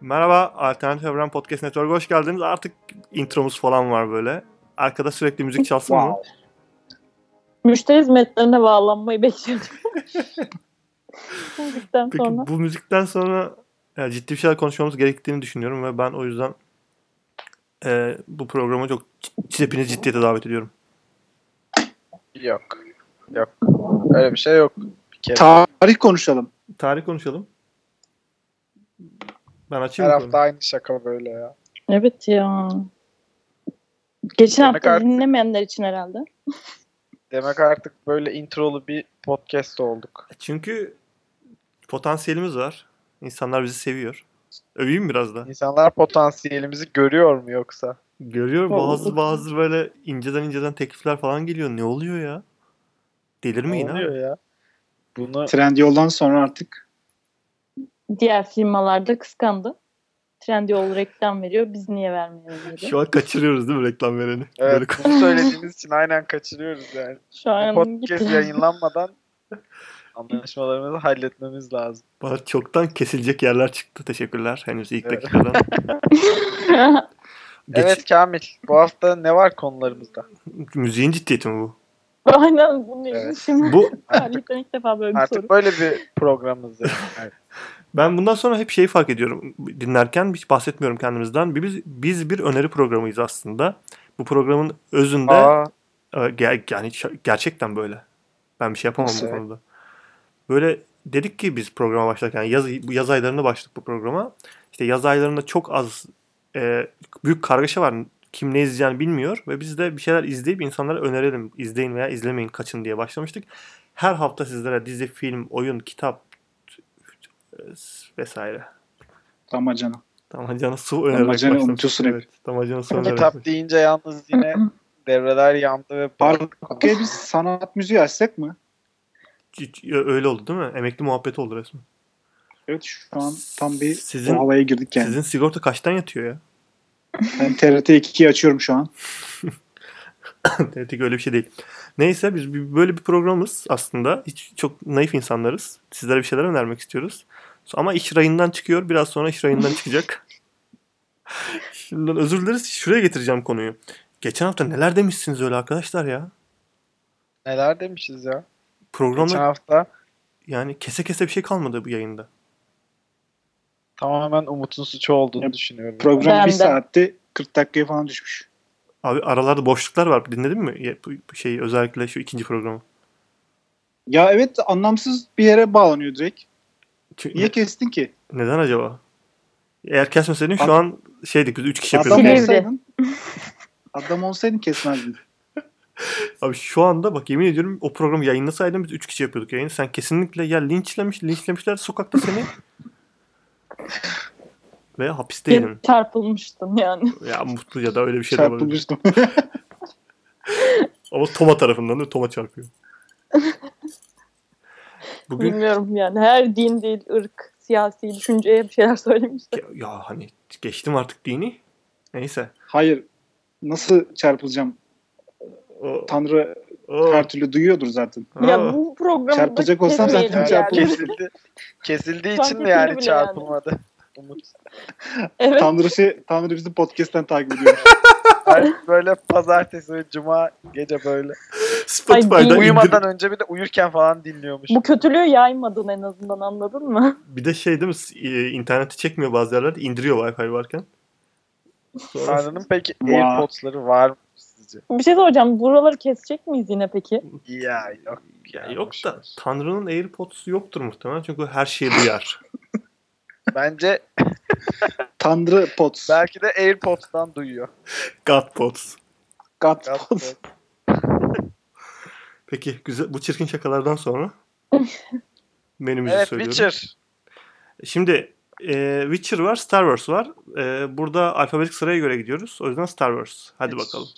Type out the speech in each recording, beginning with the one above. Merhaba Alternatif Evren Podcast Network'a hoş geldiniz. Artık intromuz falan var böyle. Arkada sürekli müzik çalsın mı? Müşteri hizmetlerine bağlanmayı bekliyordum. Müzikten Peki sonra. bu müzikten sonra yani ciddi bir şeyler konuşmamız gerektiğini düşünüyorum ve ben o yüzden e, bu programa çok c- hepinizi ciddiyete davet ediyorum. Yok. Yok. Öyle bir şey yok. Bir kere. Tarih konuşalım. Tarih konuşalım. Ben Her açayım mı hafta konuyu? aynı şaka böyle ya. Evet ya. Geçen Yemek hafta artık- dinlemeyenler için herhalde. Demek artık böyle introlu bir podcast olduk. Çünkü potansiyelimiz var. İnsanlar bizi seviyor. Öveyim mi biraz da. İnsanlar potansiyelimizi görüyor mu yoksa? Görüyorum Oldu. bazı bazı böyle inceden inceden teklifler falan geliyor. Ne oluyor ya? Delirmeyin Ne ha. oluyor ya? Bunu Trendyol'dan sonra artık Diğer firmalarda kıskandı. Trendyol reklam veriyor. Biz niye vermiyoruz dedi. Şu an kaçırıyoruz değil mi reklam vereni? Böyle evet, bunu söylediğiniz için aynen kaçırıyoruz yani. Şu Bu an podcast gitti. yayınlanmadan anlaşmalarımızı halletmemiz lazım. bana çoktan kesilecek yerler çıktı. Teşekkürler. Henüz ilk Evet. dakikadan. Geç, Evet Kamil, bu hafta ne var konularımızda? Müziğin ciddiyeti mi bu? Aynen bunu Evet. şimdi. Bu Tarihten ilk defa böyle bir soru. Artık böyle bir programımız var. Evet. ben bundan sonra hep şeyi fark ediyorum. Dinlerken hiç bahsetmiyorum kendimizden. Biz, biz bir öneri programıyız aslında. Bu programın özünde Aa, Ee, ger- yani ş- gerçekten böyle. Ben bir şey yapamam Nasıl bu yani? konuda. Böyle dedik ki biz programa başlarken yaz bu yaz aylarında başladık bu programa. İşte yaz aylarında çok az e, büyük kargaşa var. Kim ne izleyeceğini bilmiyor ve biz de bir şeyler izleyip insanlara önerelim. İzleyin veya izlemeyin, kaçın diye başlamıştık. Her hafta sizlere dizi, film, oyun, kitap e, vesaire. damacana. Damacana su önererek Damacana başlamıştık. unutuyorsun hep. Evet, damacana su önererek. kitap deyince yalnız yine devreler yandı ve Parkaya biz sanat müziği açsak mı? Hiç- hiç- Öyle oldu değil mi? Emekli muhabbeti oldu resmen. Evet şu an tam bir Sizin- o havaya girdik yani. Sizin sigorta kaçtan yatıyor ya? Ben TRT 2'yi açıyorum şu an. Teoretik öyle bir şey değil. Neyse biz bir- böyle bir programız aslında. Hiç çok naif insanlarız. Sizlere bir şeyler önermek istiyoruz. Ama iş rayından çıkıyor. Biraz sonra iş rayından çıkacak. Şimdiden özür dileriz. Şuraya getireceğim konuyu. Geçen hafta neler demişsiniz öyle arkadaşlar ya? Neler demişiz ya? Programda Geçen hafta yani kese kese bir şey kalmadı bu yayında. tamamen Umut'un suçu olduğunu Ya, düşünüyorum. Program Ben bir de. saatte 40 dakikaya falan düşmüş. Abi aralarda boşluklar var. Dinledin mi? Ya, bu- bu Şey özellikle şu ikinci programı. Ya evet anlamsız bir yere bağlanıyor direkt. Çünkü- Niye kestin ki? neden acaba? Eğer kesmeseydin şu Adam- an şeydik biz 3 kişi Adam yapıyorduk. Silivri. olsaydın. Adam olsaydın kesmezdin. Abi şu anda bak yemin ediyorum o programı yayınlasaydım biz 3 kişi yapıyorduk yayını. Sen kesinlikle ya linçlemiş, linçlemişler sokakta seni. Ve hapisteydin. Geri Çarpılmıştım yani. ya mutlu ya da öyle bir şey de olabilir. Çarpılmıştım. Ama Toma tarafından değil mi? Toma çarpıyor. Bugün Bilmiyorum yani. Her din değil, ırk, siyasi düşünceye bir şeyler söylemiştim. ya, ya hani geçtim artık dini. Neyse. Hayır. Nasıl çarpılacağım? O, Tanrı o, her türlü duyuyordur zaten. o. Ya bu programı Çarpacak olsam zaten kesmeyelim yani. çarpılırım. kesildi. Kesildiği Fark için etmedi yani bile çarpılmadı. Umut. Evet. Tanrı, şey, Tanrı bizi podcast'ten takip ediyor. Her şey böyle pazartesi ve cuma gece böyle. Ay, Spotify'da din- indir, Uyumadan önce bir de uyurken falan dinliyormuş. Bu kötülüğü yaymadın en azından anladın mı? bir de şey değil mi? E, interneti çekmiyor bazı yerlerde. indiriyor Wi-Fi varken. Sonra Tanrı'nın peki Vay. AirPods'ları var mı sizce? Bir şey soracağım. Buraları kesecek miyiz yine peki? Ya yok. Ya Ya yok boş da ver. Tanrı'nın AirPods'u yoktur muhtemelen çünkü her şeyi duyar. Bence Tanrı Pots. belki de AirPods'tan duyuyor. Godpods. God Ya, Pots. Peki güzel bu çirkin şakalardan sonra menümüzü evet söylüyorum. Witcher. Şimdi e, Witcher var, Star Wars var. E, burada alfabetik sıraya göre gidiyoruz. O yüzden Star Wars. Hadi Witcher. bakalım.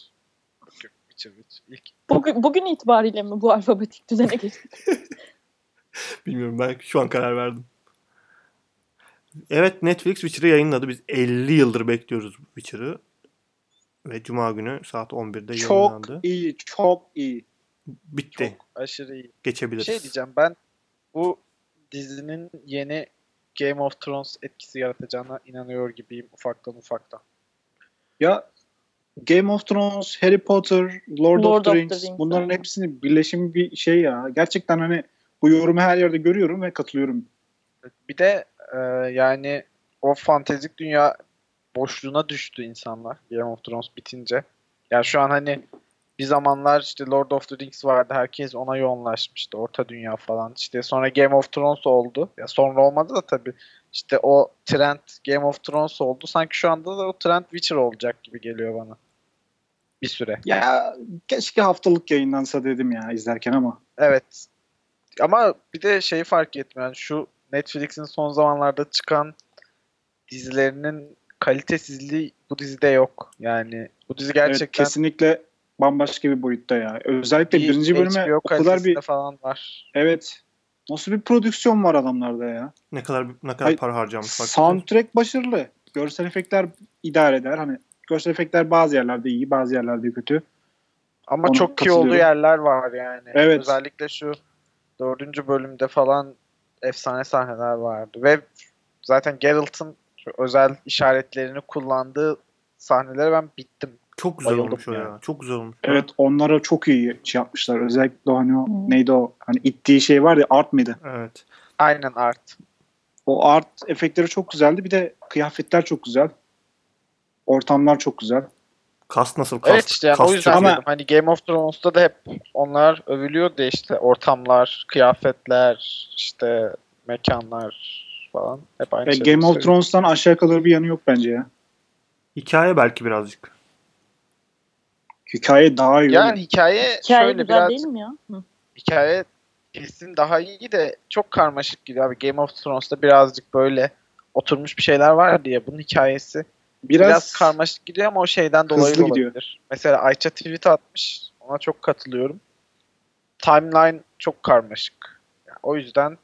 Witcher, Witcher. İlk Bugün, bugün itibariyle mi bu alfabetik düzene geçtik? Bilmiyorum ben şu an karar verdim. Evet Netflix Witcher'ı yayınladı. Biz 50 yıldır bekliyoruz Witcher'ı. Ve Cuma günü saat 11'de Çok yayınlandı. iyi, çok iyi. Bitti. aşırı iyi. Bir Geçebiliriz. şey diyeceğim ben bu dizinin yeni Game of Thrones etkisi yaratacağına inanıyor gibiyim ufaktan ufaktan. Ya Game of Thrones, Harry Potter, Lord Lord, of, of the the Rings, Rings, bunların aynen. hepsinin birleşimi bir şey ya. Gerçekten hani bu yorumu her yerde görüyorum ve katılıyorum. Bir de e, yani o fantezik dünya boşluğuna düştü insanlar Game of Thrones bitince. Yani şu an hani bir zamanlar işte Lord of the Rings vardı. Herkes ona yoğunlaşmıştı. Orta dünya falan. İşte sonra Game of Thrones oldu. Ya sonra olmadı da tabii. İşte o trend Game of Thrones oldu. Sanki şu anda da o trend Witcher olacak gibi geliyor bana. Bir süre. Ya keşke haftalık yayınlansa dedim ya izlerken ama. Evet. Ama bir de şeyi fark ettim. Yani şu Netflix'in son zamanlarda çıkan dizilerinin kalitesizliği bu dizide yok. Yani bu dizi Evet, gerçekten kesinlikle bambaşka bir boyutta ya. Özellikle bir birinci bölüme HBO o kadar bir kalitesinde falan var. evet nasıl bir prodüksiyon var adamlarda ya. Ne kadar ne kadar Hayır, para harcamış bak. Soundtrack başarılı. Görsel efektler idare eder. Hani görsel efektler bazı yerlerde iyi, bazı yerlerde kötü. Ama Ona çok iyi olduğu katılıyorum. yerler var yani. Evet. Özellikle şu dördüncü bölümde falan efsane sahneler vardı. Ve zaten Geralt'ın şu özel işaretlerini kullandığı sahnelere ben bittim. Çok güzel Bayıldım olmuş o ya. yani. Çok güzel olmuş. Evet onlara çok iyi şey yapmışlar. Özellikle o hani o Hmm. neydi o hani ittiği şey var ya art mıydı? Evet. Aynen Art. O art efektleri çok güzeldi. Bir de kıyafetler çok güzel. Ortamlar çok güzel. E, Kas nasıl? Kas, evet işte yani kas o yüzden çok iyi. Ama- dedim. Hani Game of Thrones'ta da hep onlar övülüyordu ya işte ortamlar, kıyafetler, işte mekanlar falan hep aynı Ve şeyleri E, Game of söylüyor. Thrones'tan aşağı kalır bir yanı yok bence ya. Hikaye belki birazcık. Hikaye daha iyi. Yani hikaye, Hikaye şöyle güzel biraz değil mi ya? Hı. hikaye kesin daha iyi de çok karmaşık gibi abi. Game of Thrones'ta birazcık böyle oturmuş bir şeyler var diye bunun hikayesi biraz, biraz, karmaşık gidiyor ama o şeyden dolayı hızlı da olabilir. gidiyor. Mesela Ayça tweet atmış. Ona çok katılıyorum. Timeline çok karmaşık. Yani o yüzden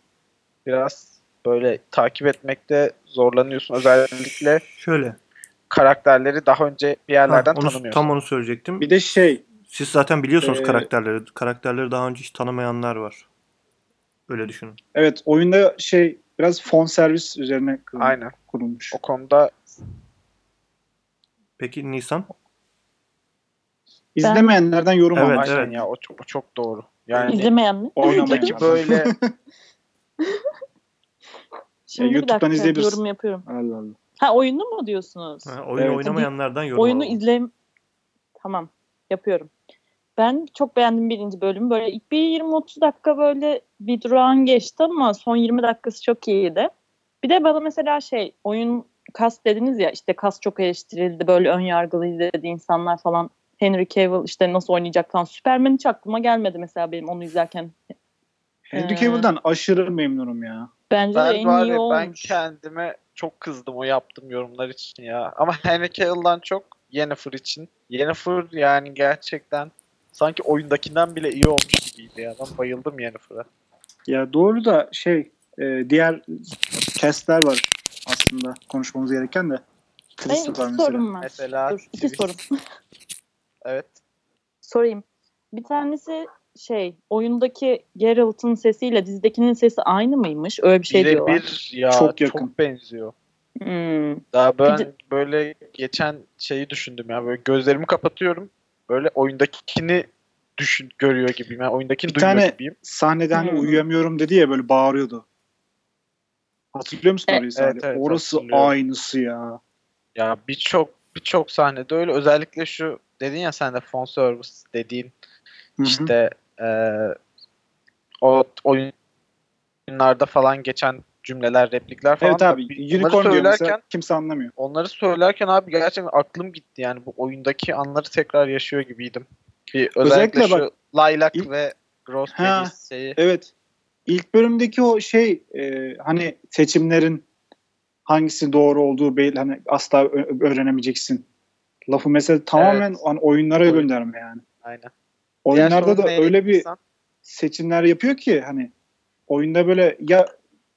biraz böyle takip etmekte zorlanıyorsun. Özellikle Şöyle. karakterleri daha önce bir yerlerden Ha, onu- tanımıyorsun. tam onu söyleyecektim. bir de şey Siz zaten biliyorsunuz Ee, karakterleri. Karakterleri daha önce hiç tanımayanlar var. Öyle düşünün. evet oyunda şey biraz fon servis üzerine kurul- Aynen. kurulmuş. O konuda Peki Nisan? İzlemeyenlerden yorum Evet, almak. aynen ya o çok, o çok doğru. Yani İzlemeyen mi? Oynamayın. Peki böyle Şimdi bir YouTube'dan dakika izleyebilirsin. yorum yapıyorum. Allah Allah. Ha oyunu mu diyorsunuz? Ha, oyunu Evet. oynamayanlardan yorum oyunu alalım. izle Tamam. Yapıyorum. Ben çok beğendim birinci bölümü. Böyle ilk bir 20-30 dakika böyle bir durağan geçti ama son 20 dakikası çok iyiydi. Bir de bana mesela şey oyun kas dediniz ya işte kas çok eleştirildi böyle ön yargılıydı dedi insanlar falan. Henry Cavill işte nasıl oynayacak falan. Superman hiç aklıma gelmedi mesela benim onu izlerken. Henry Ee, Cavill'dan aşırı memnunum ya. Bence de ben en var iyi ya, ben olmuş. kendime çok kızdım o yaptığım yorumlar için ya. Ama Henry Cavill'dan çok Yennefer için. Yennefer yani gerçekten sanki oyundakinden bile iyi olmuş gibiydi ya. Ben bayıldım Yennefer'a. Ya doğru da şey e, diğer castler var aslında konuşmamız gereken de. Chris Benim iki var mesela. sorum var. Mesela Dur, iki Sivri- sorum. Evet. sorayım. Bir tanesi şey oyundaki Geralt'ın sesiyle dizidekinin sesi aynı mıymış? Öyle bir şey Birebir diyorlar. ya Çok çok, yakın. benziyor. Hmm. Daha ben Bir de- böyle geçen şeyi düşündüm ya. Böyle gözlerimi kapatıyorum. Böyle oyundakini düşün görüyor gibiyim. Yani oyundakini Bir duyuyor tane- gibiyim. Sahnede hani Hmm. uyuyamıyorum dedi ya böyle bağırıyordu. Hatırlıyor musun E- orayı sahnede? Evet, evet, Orası hatırlıyorum. aynısı ya. Ya birçok birçok sahnede öyle. Özellikle şu dedin ya sen de fon service dediğin Hı hı. İşte eee, o oyunlarda falan geçen cümleler, replikler falan. evet da abi bir- onları unicorn diyor mesela söylerken, kimse anlamıyor. onları söylerken abi gerçekten aklım gitti yani bu oyundaki anları tekrar yaşıyor gibiydim. Bir özellikle, Özellikle şu Lilac ilk- ve Gross Ha. Melis şeyi. Evet. İlk bölümdeki o şey e, hani seçimlerin hangisi doğru olduğu belli hani asla ö- öğrenemeyeceksin. Lafı mesela tamamen hani oyunlara Oyun. gönderme yani. Aynen. Diğer Oyunlarda sorun da neydi öyle bir insan? seçimler yapıyor ki hani oyunda böyle ya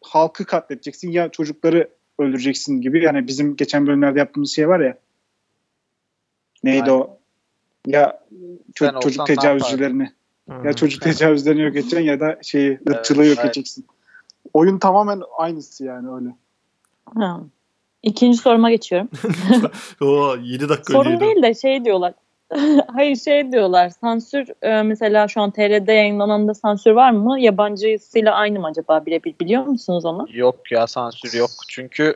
halkı katledeceksin ya çocukları öldüreceksin gibi yani bizim geçen bölümlerde yaptığımız şey var ya neydi Aynen. o ya ço- Sen olsan çocuk ne tecavüzcülerini ya Hı. çocuk tecavüzlerini yok edeceksin ya da şeyi ırkçılığı yok aynen. edeceksin. Oyun tamamen aynısı yani öyle. Ha. İkinci soruma geçiyorum. Oo 7 dakika Sorun önceydi. değil de şey diyorlar. Hayır şey diyorlar. Sansür e, mesela şu an TR'de yayınlanan da sansür var mı? Yabancısıyla aynı mı acaba birebir biliyor musunuz onu? Yok ya sansür yok. Çünkü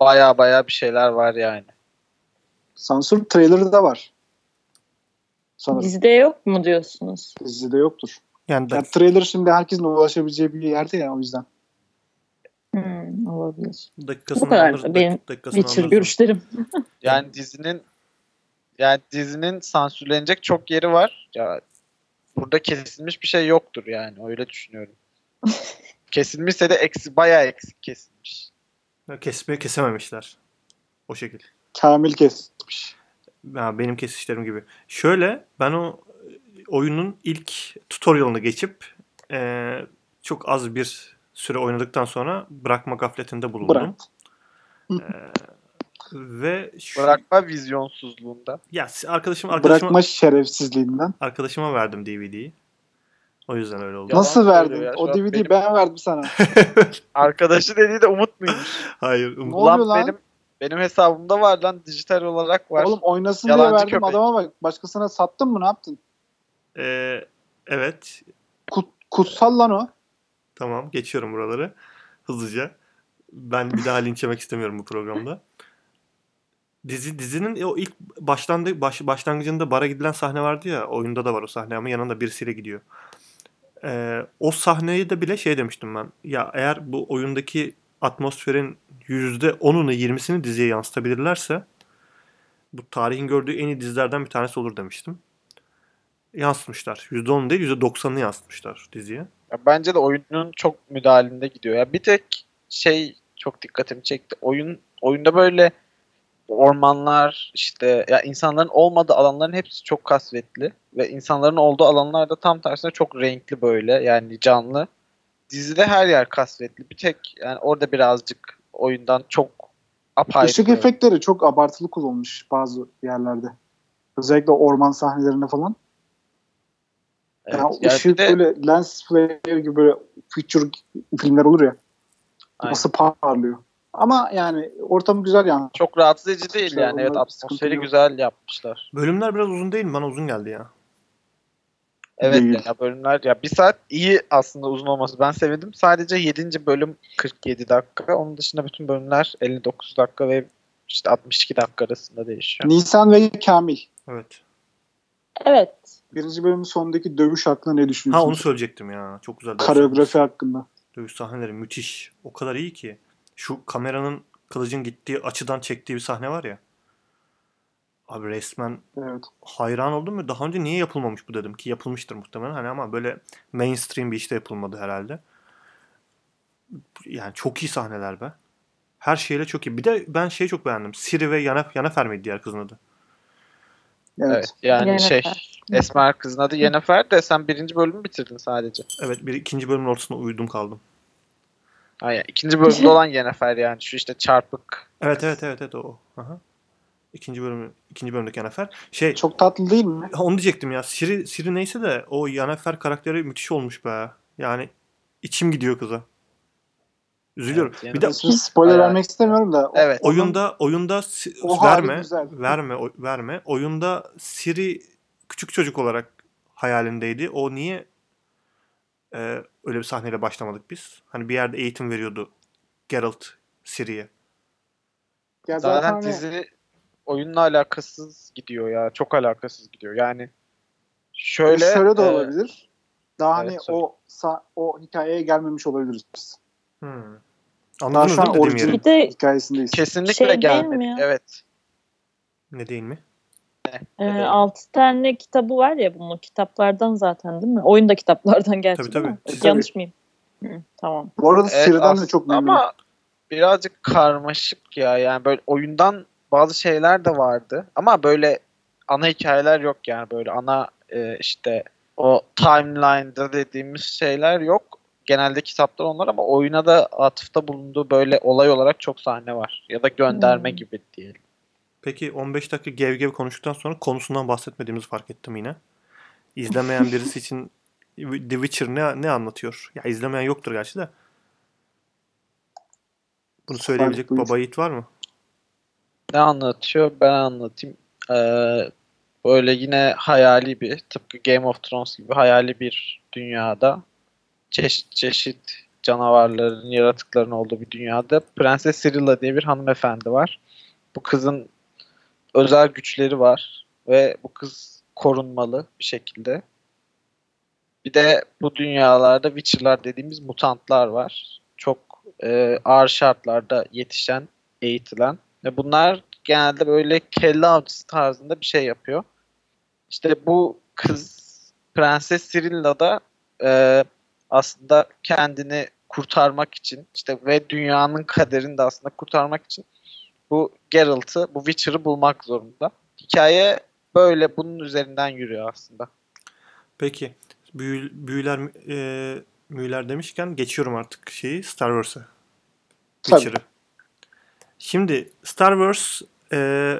baya baya bir şeyler var yani. Sansür trailer'ı da var. Sanırım. Dizide yok mu diyorsunuz? Dizide yoktur. Yani Ya da, trailer şimdi herkesin ulaşabileceği bir yerde ya o yüzden. Hmm, olabilir. dakikasını Bu kadar alırız. dak- benim dakikasını Witcher alırız. görüşlerim. Yani dizinin yani dizinin sansürlenecek çok yeri var. Ya burada kesilmiş bir şey yoktur yani öyle düşünüyorum. Kesilmişse de eksi bayağı eksik kesilmiş. Kesme, kesememişler. O şekil. Kamil kesmiş. Ya benim kesişlerim gibi. Şöyle ben o e, oyunun ilk tutorialını geçip e, çok az bir süre oynadıktan sonra bırakma gafletinde bulundum. E, Bıraktı. Ve şu, Bırakma vizyonsuzluğunda. ya arkadaşım arkadaşıma, Bırakma şerefsizliğinden. arkadaşıma verdim DVD'yi. O yüzden öyle oldu. Yalan Nasıl verdin? söylüyor ya, şu o an DVD'yi benim- ben verdim sana. Arkadaşı dediği de Umut muymuş? Hayır. um- Ne oluyor Ulan lan? Benim, benim hesabımda var lan dijital olarak var. Oğlum oynasın diye Yalancı verdim köpek. adama bak. Başkasına sattın mı ne yaptın? E, evet. Kut- kutsal lan o. Tamam geçiyorum buraları. Hızlıca. Ben bir daha linç yemek istemiyorum bu programda. Dizi dizinin o ilk başlandı baş, başlangıcında bara gidilen sahne vardı ya oyunda da var o sahne ama yanında birisiyle gidiyor. Ee, o sahneyi de bile şey demiştim ben. Ya eğer bu oyundaki atmosferin %10'unu 20'sini diziye yansıtabilirlerse bu tarihin gördüğü en iyi dizilerden bir tanesi olur demiştim. Yansıtmışlar. %10 değil %90'ını yansıtmışlar diziye. Ya bence de oyunun çok müdahalinde gidiyor. Ya bir tek şey çok dikkatimi çekti. Oyun oyunda böyle ormanlar işte ya insanların olmadığı alanların hepsi çok kasvetli ve insanların olduğu alanlar da tam tersine çok renkli böyle yani canlı. Dizide her yer kasvetli. Bir tek yani orada birazcık oyundan çok apayrı. Işık böyle. efektleri çok abartılı kullanılmış bazı yerlerde. Özellikle orman sahnelerinde falan. Evet, yani yani bir ışık de- böyle lens flare gibi böyle future filmler olur ya. Aynen. Nasıl parlıyor. Ama yani ortamı güzel yani. Çok rahatsız edici değil Sıkmışlar, yani. Evet onlar atmosferi sıkıntı yok. güzel yapmışlar. Bölümler biraz uzun değil mi? Bana uzun geldi ya. Evet Değil. yani bölümler ya bir saat iyi aslında uzun olması. Ben sevindim. Sadece 7. bölüm 47 dakika. Onun dışında bütün bölümler 59 dakika ve işte 62 dakika arasında değişiyor. Nisan ve Kamil. Evet. Evet. Birinci bölümün sonundaki dövüş hakkında ne Ha düşünüyorsun? onu söyleyecektim ya. Çok güzel. dövüş Koreografi hakkında. Dövüş sahneleri müthiş. O kadar iyi ki. Şu kameranın kılıcın gittiği açıdan çektiği bir sahne var ya. Abi resmen Evet. hayran oldum ve daha önce niye yapılmamış bu dedim ki yapılmıştır muhtemelen hani ama böyle mainstream bir işte yapılmadı herhalde. Yani çok iyi sahneler be. Her şeyle çok iyi. Bir de ben şeyi çok beğendim. Siri ve Yana Yanafer miydi diğer kızın adı? Evet. Evet. Yani şey Yennefer. Esmer kızın adı Yennefer de sen birinci bölümü bitirdin sadece. Evet bir ikinci bölümün ortasında uyudum kaldım. Hayır, ikinci bölümde olan Yennefer yani şu işte çarpık. Evet evet evet evet o. Aha. İkinci bölümü ikinci bölümdeki Yanafer. Şey Çok tatlı değil mi? Ha, Onu diyecektim ya. Siri, Siri neyse de o Yennefer karakteri müthiş olmuş be. Yani içim gidiyor kıza. Üzülüyorum. Evet, bir de Şimdi spoiler Bayağı- vermek istemiyorum da. o- Evet. onun- oyunda oyunda si- O hali verme güzel. verme oy- verme. Oyunda Siri küçük çocuk olarak hayalindeydi. O niye e, öyle bir sahneyle başlamadık biz? Hani bir yerde eğitim veriyordu Geralt Siri'ye. Zaten, Ya zaten hani- dizi oyunla alakasız gidiyor ya. Çok alakasız gidiyor. Yani şöyle Şöyle, de e, olabilir. Daha evet, hani söyle. o sa- o hikayeye gelmemiş olabiliriz biz. Hmm. Daha Anladınız şu değil an mi dediğim orijin yeri? Bir de hikayesindeyiz. kesinlikle Şey değil mi ya? gelmedik. Evet. Ne değil mi? e, Evet. altı tane kitabı var ya bunun kitaplardan zaten değil mi? Oyun da kitaplardan gerçi Tabii, değil tabii. mi? Tabii. Yanlış mıyım? Hı, tamam. Bu arada Evet, Siri'den de aslında çok memnunum. Ama birazcık karmaşık ya. Yani böyle oyundan bazı şeyler de vardı. Ama böyle ana hikayeler yok yani. Böyle ana e, işte o timeline'da dediğimiz şeyler yok. Genelde kitaplar onlar ama oyuna da atıfta bulunduğu böyle olay olarak çok sahne var. Ya da gönderme Hmm. gibi diyelim. Peki 15 dakika gev gev konuştuktan sonra konusundan bahsetmediğimizi fark ettim yine. İzlemeyen birisi için The Witcher ne, ne anlatıyor? Ya izlemeyen yoktur gerçi de. Bunu söyleyebilecek Farklı. baba yiğit var mı? Ne anlatıyor? Ben anlatayım. Ee, böyle yine hayali bir, tıpkı Game of Thrones gibi hayali bir dünyada çeşit çeşit canavarların, yaratıkların olduğu bir dünyada Prenses Cyrilla diye bir hanımefendi var. Bu kızın özel güçleri var ve bu kız korunmalı bir şekilde. Bir de bu dünyalarda Witcher'lar dediğimiz mutantlar var. Çok e, ağır şartlarda yetişen, eğitilen ve bunlar genelde böyle kelle avcısı tarzında bir şey yapıyor. İşte bu kız Prenses Cyrilla da e, aslında kendini kurtarmak için işte ve dünyanın kaderini de aslında kurtarmak için bu Geralt'ı, bu Witcher'ı bulmak zorunda. Hikaye böyle bunun üzerinden yürüyor aslında. Peki büyü, büyüler e, büyüler demişken geçiyorum artık şeyi Star Wars'a. Tabii. Witcher'ı. Şimdi Star Wars e,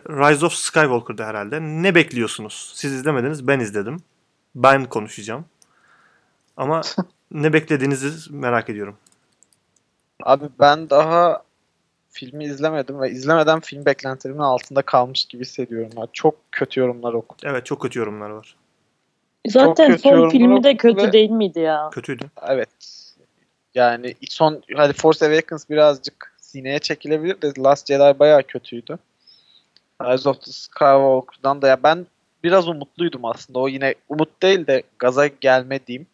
Rise of Skywalker'da herhalde. Ne bekliyorsunuz? Siz izlemediniz ben izledim. Ben konuşacağım. Ama ne beklediğinizi merak ediyorum. Abi ben daha filmi izlemedim ve izlemeden film beklentilerimin altında kalmış gibi hissediyorum. ya. Çok kötü yorumlar okudum. Evet çok kötü yorumlar var. Zaten kötü son yorumlar filmi de okudu kötü ve- değil miydi ya? Kötüydü. Evet. Yani son hadi Force Awakens birazcık sineye çekilebilir de Last Jedi bayağı kötüydü. Rise of the Skywalker'dan da ya ben biraz umutluydum aslında. O yine umut değil de gaza gelme diyeyim.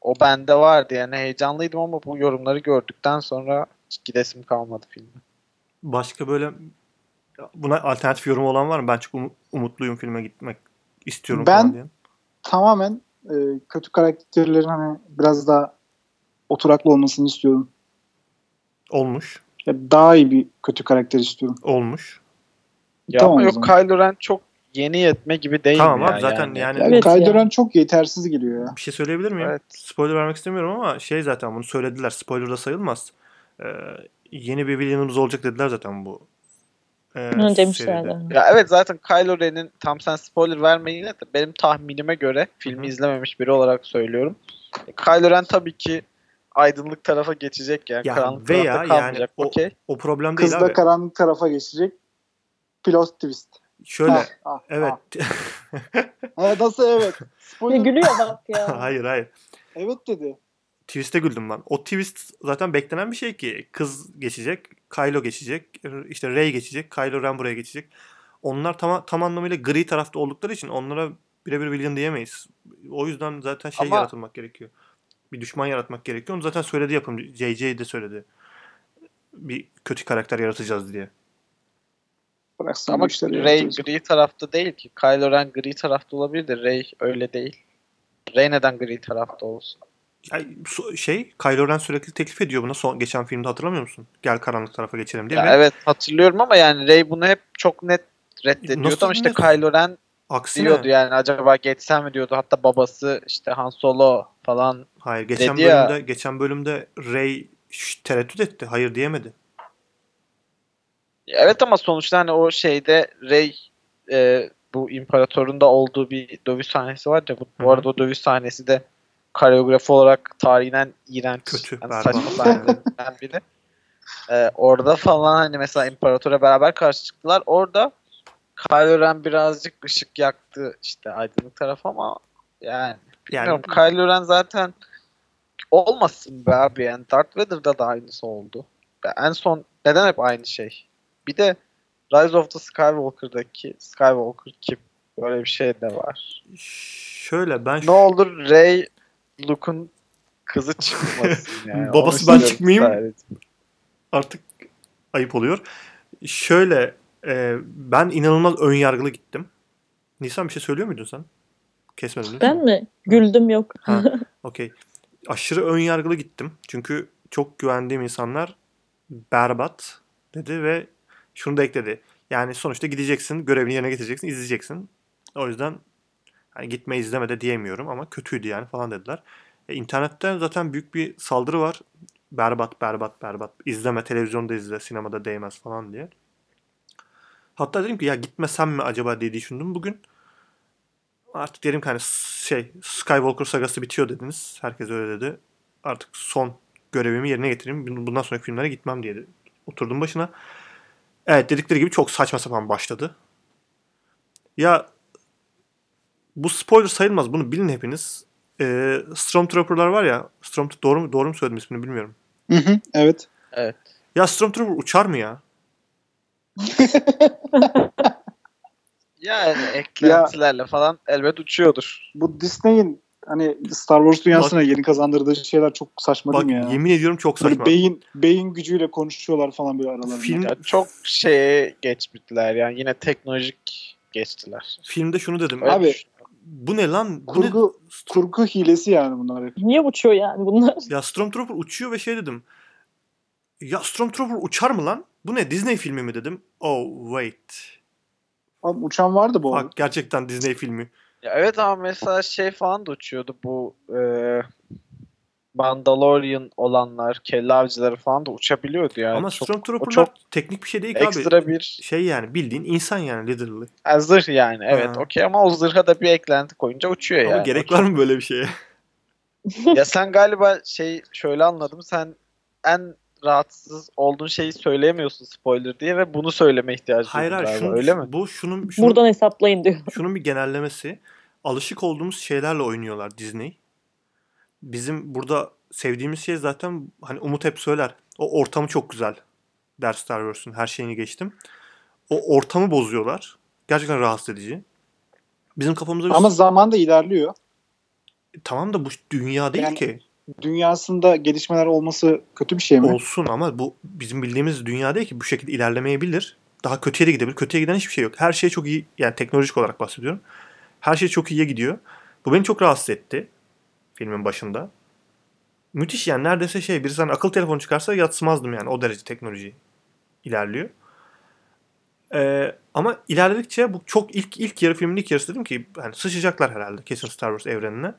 O bende vardı yani heyecanlıydım ama bu yorumları gördükten sonra hiç gidesim kalmadı filme. Başka böyle buna alternatif yorum olan var mı? Ben çok umu- umutluyum filme gitmek istiyorum Ben- falan diyen. Tamamen e, kötü karakterlerin hani biraz daha oturaklı olmasını istiyorum. Olmuş. Ya daha iyi bir kötü karakter istiyorum. Olmuş. Ya Tamam ama o yok zaman. Kylo Ren çok yeni yetme gibi değil Tamam ya. abi zaten yani, Ya Evet Kylo ya. Ren çok yetersiz geliyor ya. bir şey söyleyebilir miyim? Evet. Spoiler vermek istemiyorum ama şey zaten bunu söylediler. Spoiler da sayılmaz. Ee, yeni bir William'ımız olacak dediler zaten bu. e, Bunu seride. demişlerdi. Ya evet zaten Kylo Ren'in tam sen spoiler verme yine de benim tahminime göre Hı hı. filmi izlememiş biri olarak söylüyorum. E, Kylo Ren tabii ki aydınlık tarafa geçecek yani. Ya karanlık veya tarafta yani kalmayacak. o- Okey. O problem değil Kız da abi. karanlık tarafa geçecek. Plot twist. Şöyle Ah, ah, evet. ah. Ha, nasıl evet? Ya Spoiler. gülüyor bak ya. hayır hayır. evet dedi. Twist'e güldüm ben. O twist zaten beklenen bir şey ki kız geçecek, Kylo geçecek, işte Rey geçecek, Kylo Ren buraya geçecek. Onlar tam, tam anlamıyla gri tarafta oldukları için onlara birebir William diyemeyiz. O yüzden zaten şey Ama- yaratılmak gerekiyor. Bir düşman yaratmak gerekiyor. Onu zaten söyledi yapımcı. JJ de söyledi. Bir kötü karakter yaratacağız diye. Bıraksın Ama bu işleri. Rey yapacağız. gri tarafta değil ki. Kylo Ren gri tarafta olabilir de Rey öyle değil. Rey neden gri tarafta olsun? Ay, so- şey Kylo Ren sürekli teklif ediyor buna. Son, geçen filmde hatırlamıyor musun? Gel karanlık tarafa geçelim diye. Ya ve evet hatırlıyorum ama yani Rey bunu hep çok net reddediyordu Nasıl ama işte net? Kylo Ren Aksine diyordu yani acaba geçsem mi diyordu. Hatta babası işte Han Solo falan Hayır geçen Dedi ya. bölümde geçen bölümde Ray ş- tereddüt etti. Hayır diyemedi. Evet ama sonuçta hani o şeyde Rey e, bu imparatorun da olduğu bir dövüş sahnesi var ya. Bu, bu Hı hı. arada o dövüş sahnesi de koreografi olarak tarihinden iğrenç. Kötü, yani berbat. saçma sahnelerinden biri. E, orada falan hani mesela imparatora beraber karşı çıktılar. Orada Kylo Ren birazcık ışık yaktı işte aydınlık taraf ama yani Yani bilmiyorum Kylo Ren zaten olmasın be abi yani Darth Vader'da da aynısı oldu. Ya en son neden hep aynı şey? Bir de Rise of the Skywalker'daki Skywalker kim? Böyle bir şey de var. şöyle ben Ne olur Rey Luke'un kızı çıkmasın yani. Babası Onu ben istiyorum çıkmayayım. sadece. artık ayıp oluyor. Şöyle e, ben inanılmaz ön yargılı gittim. Nisan bir şey söylüyor muydun sen? Kesmedim değil mi? Ben mi? Güldüm yok. Ha, okey. Aşırı ön yargılı gittim. Çünkü çok güvendiğim insanlar berbat dedi ve şunu da ekledi. Yani sonuçta gideceksin, görevini yerine getireceksin, izleyeceksin. O yüzden hani gitme izleme de diyemiyorum ama kötüydü yani falan dediler. E, internetten zaten büyük bir saldırı var. Berbat, berbat, berbat. İzleme, televizyonda izle, sinemada değmez falan diye. Hatta dedim ki ya gitmesem mi acaba diye düşündüm bugün. Artık dedim ki hani s- şey Skywalker sagası bitiyor dediniz. Herkes öyle dedi. Artık son görevimi yerine getireyim. Bun- Bundan sonraki filmlere gitmem diye de- Oturdum başına. Evet dedikleri gibi çok saçma sapan başladı. Ya bu spoiler sayılmaz. Bunu bilin hepiniz. Ee, Stormtrooper'lar var ya. Storm doğru mu, doğru mu söyledim ismini bilmiyorum. Hı hı, evet. Ya Stormtrooper uçar mı ya? Yani eklentilerle falan elbet uçuyordur. Bu Disney'in hani Star Wars dünyasına yeni kazandırdığı şeyler çok saçma Bak değil mi ya? Hani yemin ediyorum çok saçma. Böyle beyin, beyin gücüyle konuşuyorlar falan böyle aralarında. Film- Ya çok şeye geçmediler yani yine teknolojik geçtiler. Filmde şunu dedim. Öyle şey Abi, düşünüyorum. Bu ne lan? Bu ne? Kurgu, kurgu hilesi yani bunlar hep. Niye uçuyor yani bunlar? Ya Stormtrooper uçuyor ve şey dedim. Ya Stormtrooper uçar mı lan? Bu ne Disney filmi mi dedim. Oh wait. Abi uçan vardı bu arada. Bak gerçekten Disney filmi. Ya evet ama mesela şey falan da uçuyordu bu e, Mandalorian olanlar, kelle avcıları falan da uçabiliyordu yani. Ama çok Stormtrooper'lar o çok teknik bir şey değil ki ekstra abi. bir Şey yani bildiğin insan yani literally. Ha, zırh yani evet Ha. okey ama o zırha da bir eklenti koyunca uçuyor Ama Şey yani. gerek var mı böyle bir şeye? Ya sen galiba şey şöyle anladım sen en rahatsız olduğun şeyi söyleyemiyorsun spoiler diye ve bunu söyleme ihtiyacı Hayır duydun hayır. galiba, Şunu, öyle mi? Bu şunun, şunun, Buradan hesaplayın diyor. şunun bir genellemesi. Alışık olduğumuz şeylerle oynuyorlar Disney. Bizim burada sevdiğimiz şey zaten hani Umut hep söyler. O ortamı çok güzel. Der Star Wars'un her şeyini geçtim. O ortamı bozuyorlar. Gerçekten rahatsız edici. Bizim kafamıza bir... Ama zaman da ilerliyor. tamam da bu dünya değil Yani- ki. Dünyasında gelişmeler olması kötü bir şey mi? Olsun ama bu bizim bildiğimiz dünya değil ki bu şekilde ilerlemeyebilir. Daha kötüye de gidebilir. Kötüye giden hiçbir şey yok. Her şey çok iyi yani teknolojik olarak bahsediyorum. Her şey çok iyiye gidiyor. Bu beni çok rahatsız etti filmin başında. Müthiş yani neredeyse şey birisi hani akıl telefonu çıkarsa yatsımazdım yani o derece teknoloji ilerliyor. Ee, ama ilerledikçe bu çok ilk ilk yarı filmin ilk yarısı dedim ki hani sıçacaklar herhalde kesin Star Wars evrenine.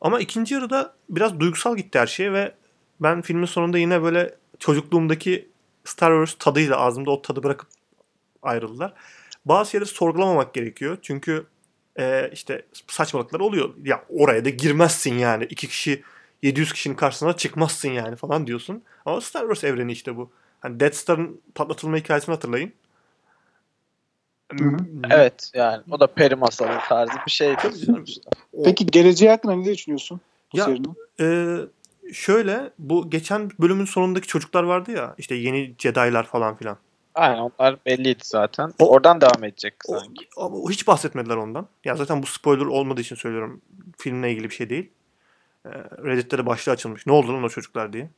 Ama ikinci yarıda biraz duygusal gitti her şey ve ben filmin sonunda yine böyle çocukluğumdaki Star Wars tadıyla ağzımda o tadı bırakıp ayrıldılar. Bazı şeyleri sorgulamamak gerekiyor. Çünkü e, işte saçmalıklar oluyor. Ya oraya da girmezsin yani. iki kişi 700 kişinin karşısına çıkmazsın yani falan diyorsun. Ama Star Wars evreni işte bu. Hani Death Star'ın patlatılma hikayesini hatırlayın. Hı hı. Evet yani o da peri masalı tarzı bir şey. Tabii canım. O- Peki geleceğe hakkında ne düşünüyorsun? Bu Ya- serinin? Ee, şöyle bu geçen bölümün sonundaki çocuklar vardı ya işte yeni Jedi'lar falan filan. Aynen onlar belliydi zaten. O- Oradan devam edecek O- sanki. Ama hiç bahsetmediler ondan. Ya zaten bu spoiler olmadığı için söylüyorum. Filmle ilgili bir şey değil. Ee, Reddit'te de başlığı açılmış. Ne oldu lan o çocuklar diye.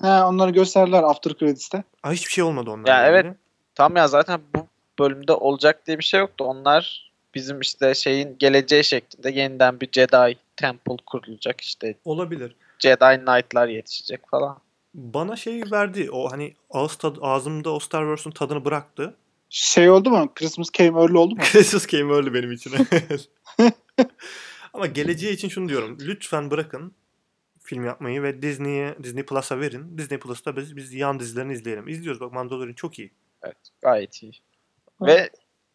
Ha, onları gösterdiler After Credits'te. Aa, hiçbir şey olmadı onlarla Ya evet. ilgili. Tam ya zaten bu bölümde olacak diye bir şey yoktu. Onlar bizim işte şeyin geleceği şeklinde yeniden bir Jedi Temple kurulacak işte Olabilir. Jedi Knight'lar yetişecek falan. Bana şey verdi. O hani ağız tadı, ağzımda o Star Wars'un tadını bıraktı. Şey oldu mu? Christmas Came Early oldu mu? Krisus came early benim için. Ama geleceği için şunu diyorum. Lütfen bırakın film yapmayı ve Disney'e, Disney Plus'a verin. Disney Plus'ta biz, biz yan dizilerini izleyelim. İzliyoruz bak Mandalorian çok iyi. Gayet iyi. Ve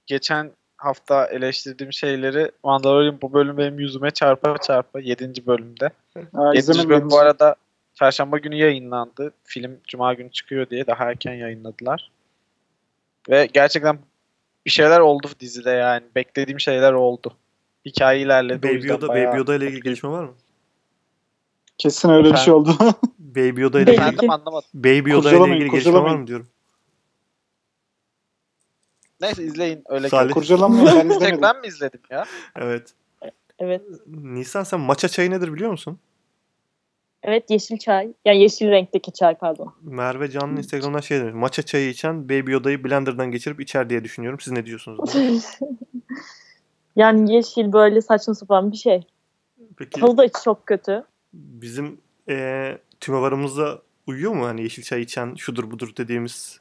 geçen hafta eleştirdiğim şeyleri Mandalorian bu bölüm benim yüzüme çarpa çarpa 7. bölümde. Ha, 7. izlemedim. bölüm bu arada çarşamba günü yayınlandı. Film cuma günü çıkıyor diye daha erken yayınladılar. Ve gerçekten bir şeyler oldu dizide yani. Beklediğim şeyler oldu. Hikaye ilerledi. o Baby yüzden Yoda, bayağı Baby Yoda ile ilgili mutluyum. gelişme var mı? Kesin öyle bir şey oldu. Baby Yoda ile ilgili, Belki. Efendim anlamadım. Baby Yoda ile Kurcalamayın, ilgili gelişme var mı kurcalamayın. diyorum. Neyse izleyin öyle. Salih. görün. Kurcalamayın ben Bir izlemedim. Tek ben mi izledim ya? Evet. Evet. Nisan sen maça çayı nedir biliyor musun? Evet yeşil çay. Yani yeşil renkteki çay pardon. Merve Can'ın Instagram'dan şey demiş. Maça çayı içen Baby Yoda'yı blenderdan geçirip içer diye düşünüyorum. Siz ne diyorsunuz? yani yeşil böyle saçma sapan bir şey. Peki Tadı da çok kötü. bizim eee tümevarımıza uyuyor mu? Hani yeşil çay içen şudur budur dediğimiz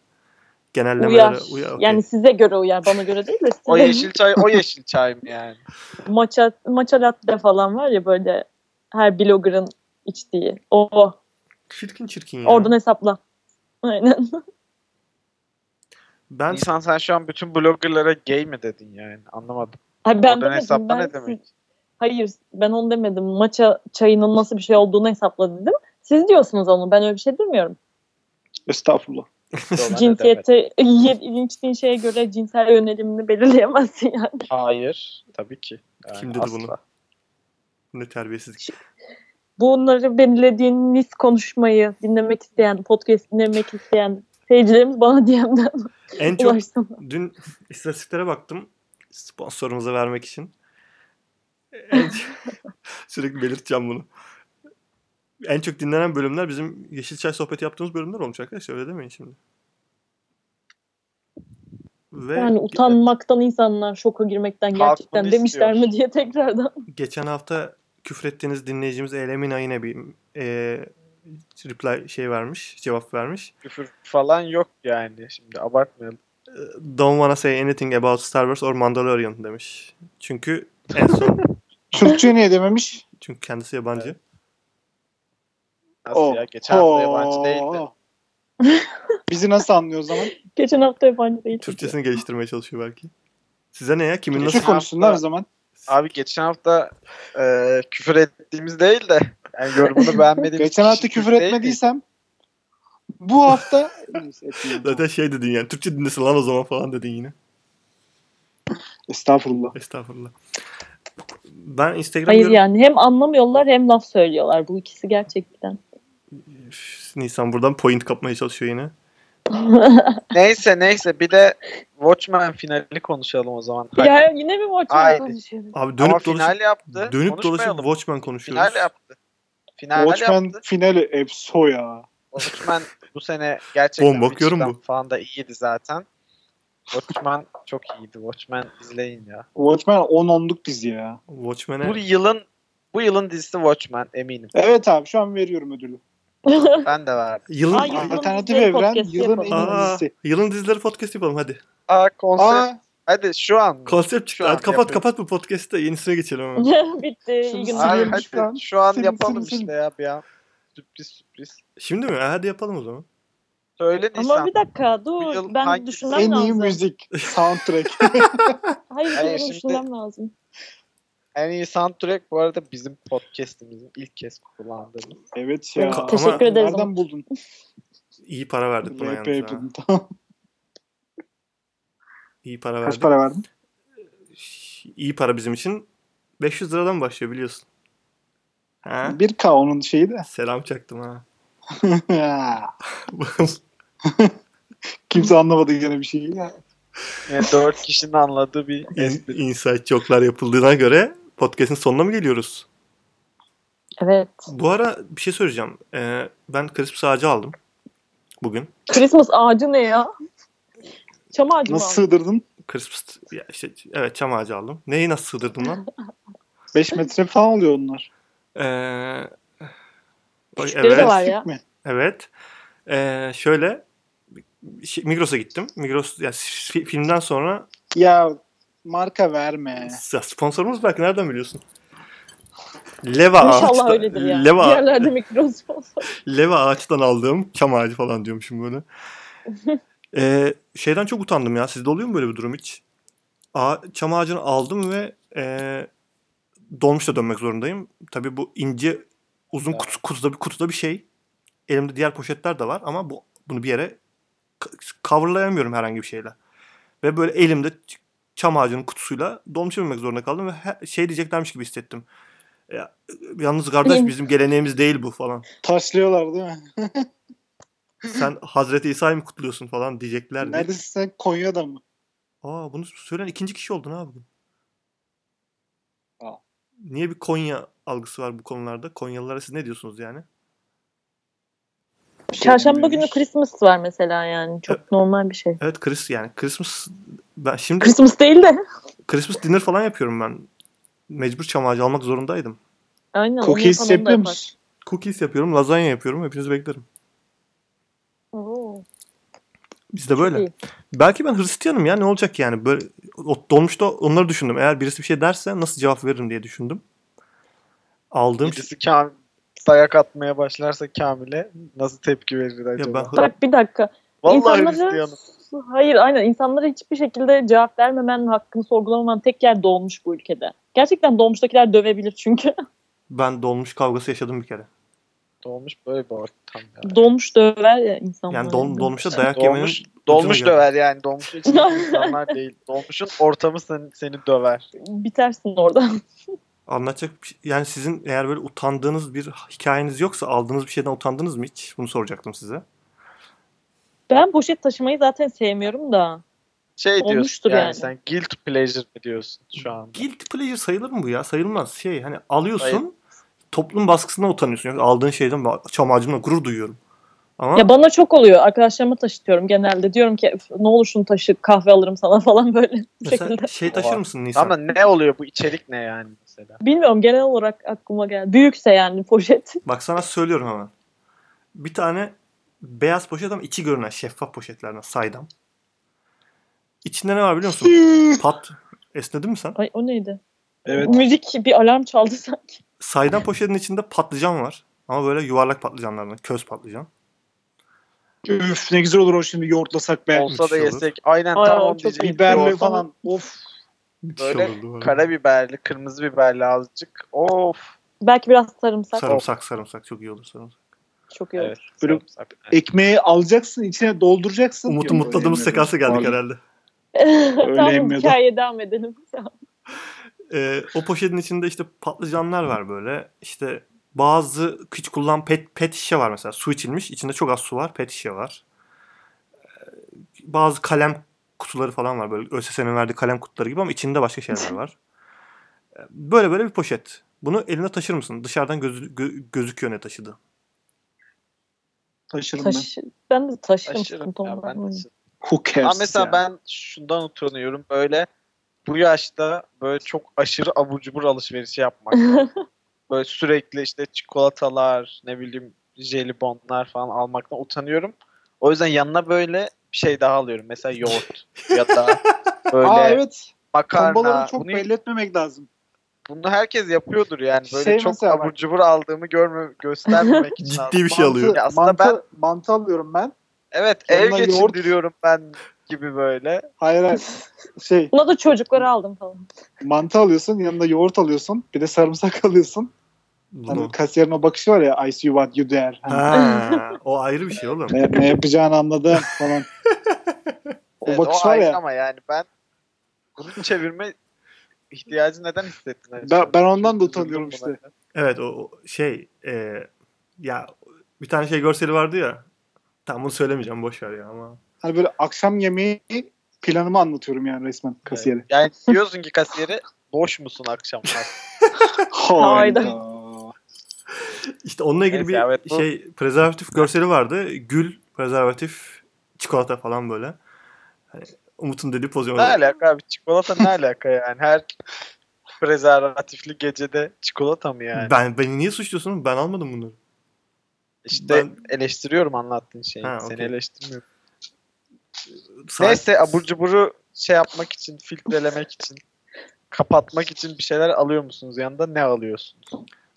genellemelere Uyar. uyar. okey. Yani size göre uyar. Bana göre değil de size. O yeşil çay o yeşil çay mı yani? Matcha, matcha latte falan var ya böyle her blogger'ın içtiği. O. Hmm. o. Çirkin çirkin ya. Oradan hesapla. Aynen. Ben İnsan sen şu an bütün bloggerlara gay mi dedin yani? Anlamadım. Hayır, ben Oradan demedim. hesapla Ben ne siz- demek? hayır ben onu demedim. Matcha çayının nasıl bir şey olduğunu hesapla dedim. Siz diyorsunuz onu. Ben öyle bir şey demiyorum. Estağfurullah. Dolan ödemedi. Cinsiyete, linçliğin şeye göre cinsel yönelimini belirleyemezsin yani. Hayır. Tabii ki. Yani Kim dedi asla. bunu? Ne terbiyesizlik. Bunları belirlediğiniz konuşmayı dinlemek isteyen, podcast dinlemek isteyen seyircilerimiz bana DM'den En çok ulaşsın. dün istatistiklere baktım sponsorumuza vermek için. En çok- sürekli belirteceğim bunu. En çok dinlenen bölümler bizim Yeşilçay sohbeti yaptığımız bölümler olmuş arkadaşlar. Öyle demeyin şimdi. Ve Yani utanmaktan insanlar şoka girmekten Halk gerçekten bunu demişler istiyor. mi diye tekrardan. geçen hafta küfrettiğiniz dinleyicimiz Elemina yine bir e, reply şey vermiş, cevap vermiş. Küfür falan yok yani. Şimdi abartmayalım. E, Don't wanna say anything about Star Wars or Mandalorian demiş. Çünkü en son Türkçe niye dememiş? çünkü kendisi yabancı. Nasıl Oh. ya? Geçen hafta Oo. yabancı değildi. Bizi nasıl anlıyor o zaman? Geçen hafta yabancı değil. Türkçesini geliştirmeye çalışıyor belki. Size ne ya? Kimin nasıl Türkçe konuşsunlar o zaman. Abi geçen hafta e, küfür ettiğimiz değil de yani yorumunu beğenmediğimiz Geçen hafta kişi küfür değil ki. etmediysem bu hafta Neyse, etmeyeyim. Zaten şey dedin yani Türkçe dinlesin lan o zaman falan dedin yine. Estağfurullah. Estağfurullah. Ben Instagram Hayır yorum- yani hem anlamıyorlar hem laf söylüyorlar. Bu ikisi gerçekten. Üf, Nisan buradan point kapmaya çalışıyor yine. Neyse neyse bir de Watchmen finali konuşalım o zaman. Hadi. Ya yine mi Watchmen Hayır. konuşuyoruz? Abi Ama dönüp final dolaşıp yaptı. dönüp dolaşıp Konuşmayalım. Watchmen konuşuyoruz. Final yaptı. Final Watchmen yaptı. finali Epso ya. Watchmen bu sene gerçekten Bomba bakıyorum Witcher'dan bu. falan da iyiydi zaten. Watchmen çok iyiydi. Watchmen izleyin ya. Watchmen 10-10'luk dizi ya. Watchmen'e Bu yılın bu yılın dizisi Watchmen eminim. Evet abi şu an veriyorum ödülü. Ben de verdim. yılın Ay, Aa, yılın Alternatif dizileri evren podcast'i yılın yapalım. en iyi dizisi. yılın dizileri podcast yapalım hadi. Aa konsept. Aa Hadi şu an. mı? Konsept çıktı. Şu an Hadi kapat yapıyorum. kapat bu podcast'te yenisine geçelim hemen. Bitti. İyi Şimdi günler. Ay, Sinirim hadi şu an. şu an Sinirim, yapalım sinirim. işte ya bir an. Sürpriz sürpriz. Şimdi mi? Ha, Hadi yapalım o zaman. Söyle Ama Nisan. bir dakika Bu dur. yıl Ben hangi- düşünmem en iyi lazım. müzik soundtrack. Hayır, Hayır, benim şimdi- düşünmem lazım. En iyi soundtrack bu arada bizim podcast'imizin ilk kez kullandığımız. evet ya. Ama- Teşekkür ederiz ama. Nereden buldun? İyi para verdik buna RP yalnız. ha. yapıyordun. Tamam. İyi para Kaç verdik. para verdin? İyi para bizim için. 500 liradan başlıyor biliyorsun. Ha? 1K onun şeyi de. Selam çaktım ha. Kimse anlamadı gene bir şeyi. ya. Yani dört kişinin anladığı bir İn- espri. Inside çoklar yapıldığına göre podcast'in sonuna mı geliyoruz? Evet. Bu ara bir şey söyleyeceğim. Ee, ben Christmas ağacı aldım bugün. Christmas ağacı ne ya? Çam ağacı mı? Nasıl sığdırdın? Christmas ya işte evet çam ağacı aldım. Neyi nasıl sığdırdım lan? 5 metre falan oluyor onlar. Ee, oy, Küçükleri Şey de var ya. Lastik mi? Evet. Ee, şöyle şey- Migros'a gittim. Migros ya fi- filmden sonra Ya marka verme. Ya sponsorumuz bak nereden biliyorsun? Leva İnşallah ağaçtan, öyledir ya. Leva, Bir yerlerde mikrofon. Leva ağaçtan aldığım çam ağacı falan diyormuşum böyle. Ee, şeyden çok utandım ya. Sizde oluyor mu böyle bir durum hiç? Ağa, çam ağacını aldım ve e, dolmuşla dönmek zorundayım. Tabii bu ince uzun Ya. kutu, kutuda, bir, kutuda bir şey. Elimde diğer poşetler de var ama bu bunu bir yere k- coverlayamıyorum herhangi bir şeyle. Ve böyle elimde ç- çam ağacının kutusuyla dolmuşa binmek zorunda kaldım ve he- şey diyeceklermiş gibi hissettim. Ya, yalnız kardeş Benim- bizim geleneğimiz değil bu falan. Taşlıyorlar değil mi? Sen Hazreti İsa'yı mı kutluyorsun falan diyecekler. diye. Neredesin sen? Konya'da mı? Aa bunu söyleyen ikinci kişi oldun abi. Aa. Niye bir Konya algısı var bu konularda? Konyalılara siz ne diyorsunuz yani? Bir şey Çarşamba günü demiyormuş. Christmas var mesela yani. Çok normal bir şey. Evet Chris yani Christmas ben şimdi Christmas değil de. Christmas dinner falan yapıyorum ben. Mecbur çam ağacı almak zorundaydım. Aynen. onu yapan Cookies onu da yapıyor yapar. musun? Cookies yapıyorum, lazanya yapıyorum. Hepinizi beklerim. Oo, Biz de böyle. iyi. Belki ben Hristiyanım ya ne olacak yani? Böyle o- dolmuşta onları düşündüm. Eğer birisi bir şey derse nasıl cevap veririm diye düşündüm. Aldığım şey- Birisi Kamil dayak atmaya başlarsa Kamil'e nasıl tepki verir acaba? ben- Bak bir dakika. Vallahi şey İnsanları- Hristiyanım. Hayır aynen insanlara hiçbir şekilde cevap vermemen, hakkını sorgulamaman tek yer dolmuş bu ülkede. Gerçekten dolmuştakiler dövebilir çünkü. ben dolmuş kavgası yaşadım bir kere. Dolmuş böyle bir ortam. ya. Dolmuş döver ya insanlar. Yani don, dolmuşa dayak yemenin Dolmuş, dolmuş ucunu gör. döver yani. Dolmuşun içinde insanlar değil. Dolmuşun ortamı seni, seni döver. Bitersin oradan. anlatacak bir şey- yani sizin eğer böyle utandığınız bir hikayeniz yoksa aldığınız bir şeyden utandınız mı hiç? Bunu soracaktım size. Ben poşet taşımayı zaten sevmiyorum da. Şey Olmuştur diyorsun yani, yani. sen guilt pleasure mi diyorsun şu anda? Guilty pleasure sayılır mı bu ya? Sayılmaz. Şey hani alıyorsun Hayır. toplum baskısından utanıyorsun. Yoksa aldığın şeyden ba- çam ağacımla gurur duyuyorum. Ama Ya bana çok oluyor. Arkadaşlarıma taşıtıyorum genelde. Diyorum ki "Üf, ne olur şunu taşı kahve alırım sana falan böyle bu mesela şekilde. şey taşır mısın Nisan? Ama ne oluyor bu içerik ne yani mesela? Bilmiyorum genel olarak aklıma geldi. Büyükse yani poşet. Bak sana söylüyorum hemen. Bir tane beyaz poşet ama içi görünen şeffaf poşetlerden saydam. İçinde ne var biliyor musun? Pat. Esnedin mi sen? Ay o neydi? Evet. Müzik bir alarm çaldı sanki. Saydam poşetin içinde patlıcan var. Ama böyle yuvarlak patlıcanlardan. Köz patlıcan. Üf ne güzel olur o şimdi yoğurtlasak be. Olsa da müthiş olur. yesek. Aynen Ay, tam ay, onu çok diyecektim. Biberli Yoğurt- falan. Of. Müthiş Böyle olurdu bu arada. Karabiberli, kırmızı biberli azıcık. Of. Belki biraz sarımsak. Sarımsak sarımsak çok iyi olur sarımsak. Çok iyi olur. Evet. Böyle- sarımsak. Ekmeği alacaksın içine dolduracaksın. Umut'u Yok, öyle mutladığımız yemiyordum. sekansa geldik Pardon. herhalde. tamam yemiyordum. hikayeye devam edelim. Ee, o poşetin içinde işte patlıcanlar var böyle. İşte bazı hiç kullan pet, pet şişe var mesela. Su içilmiş. içinde çok az su var. Pet şişe var. Ee, bazı kalem kutuları falan var. Böyle ÖSS'nin verdiği kalem kutuları gibi ama içinde başka şeyler var. Ee, Böyle böyle bir poşet. Bunu eline taşır mısın? Dışarıdan gözü, gö- gözüküyor ne taşıdı. Taşırım ben. Taş, ben de taşırım. Taşırım sıkıntı ya olmaz. ben Hmm. taşırım. Who cares Ama mesela ya. ben şundan utanıyorum böyle bu yaşta böyle çok aşırı abur cubur alışverişi yapmak. böyle sürekli işte çikolatalar ne bileyim jelibonlar falan almaktan utanıyorum. O yüzden yanına böyle bir şey daha alıyorum. Mesela yoğurt ya da böyle Aa evet. makarna. Kombaları çok bunu, belli etmemek lazım. bunu herkes yapıyordur yani. Böyle Şey çok mesela bak- abur cubur aldığımı görme, göstermemek için aldım. Ciddi bir şey alıyor. Ya aslında mantı, mantı alıyorum ben. Evet ev Yanına yoğurt- geçindiriyorum ben gibi böyle. Hayır hayır. şey Buna da çocukları aldım falan. mantı alıyorsun yanında yoğurt alıyorsun. Bir de sarımsak alıyorsun. Hani Bunu. kasiyerin o bakışı var ya I see what you there. Hani Ha, o ayrı bir şey oğlum. ne, ne yapacağını anladım falan. O Evet, bakış o var ayrı ya. Ama yani ben bunu çevirme ihtiyacı neden hissettin? acaba? Ben- ben ondan da Çok utanıyorum üzüldüm buna. Evet o o şey e, ya bir tane şey görseli vardı ya. Tam bunu söylemeyeceğim boş ver ya ama. Hani böyle akşam yemeği planımı anlatıyorum yani resmen kasiyere. Yani diyorsun ki kasiyere boş musun akşamlar? Hayda. İşte onunla ilgili Neyse, bir evet, bu- şey prezervatif görseli vardı. Gül, prezervatif, çikolata falan böyle. Hani Umut'un dediği pozisyon. ne alaka abi? Çikolata ne alaka yani? Her prezervatifli gecede çikolata mı yani? Ben beni niye suçluyorsun? Ben almadım bunları. işte eleştiriyorum anlattığın şeyi. Ha, Seni okey. eleştirmiyorum. Saat- Neyse abur cuburu şey yapmak için, filtrelemek için, kapatmak için bir şeyler alıyor musunuz? Yanında ne alıyorsunuz?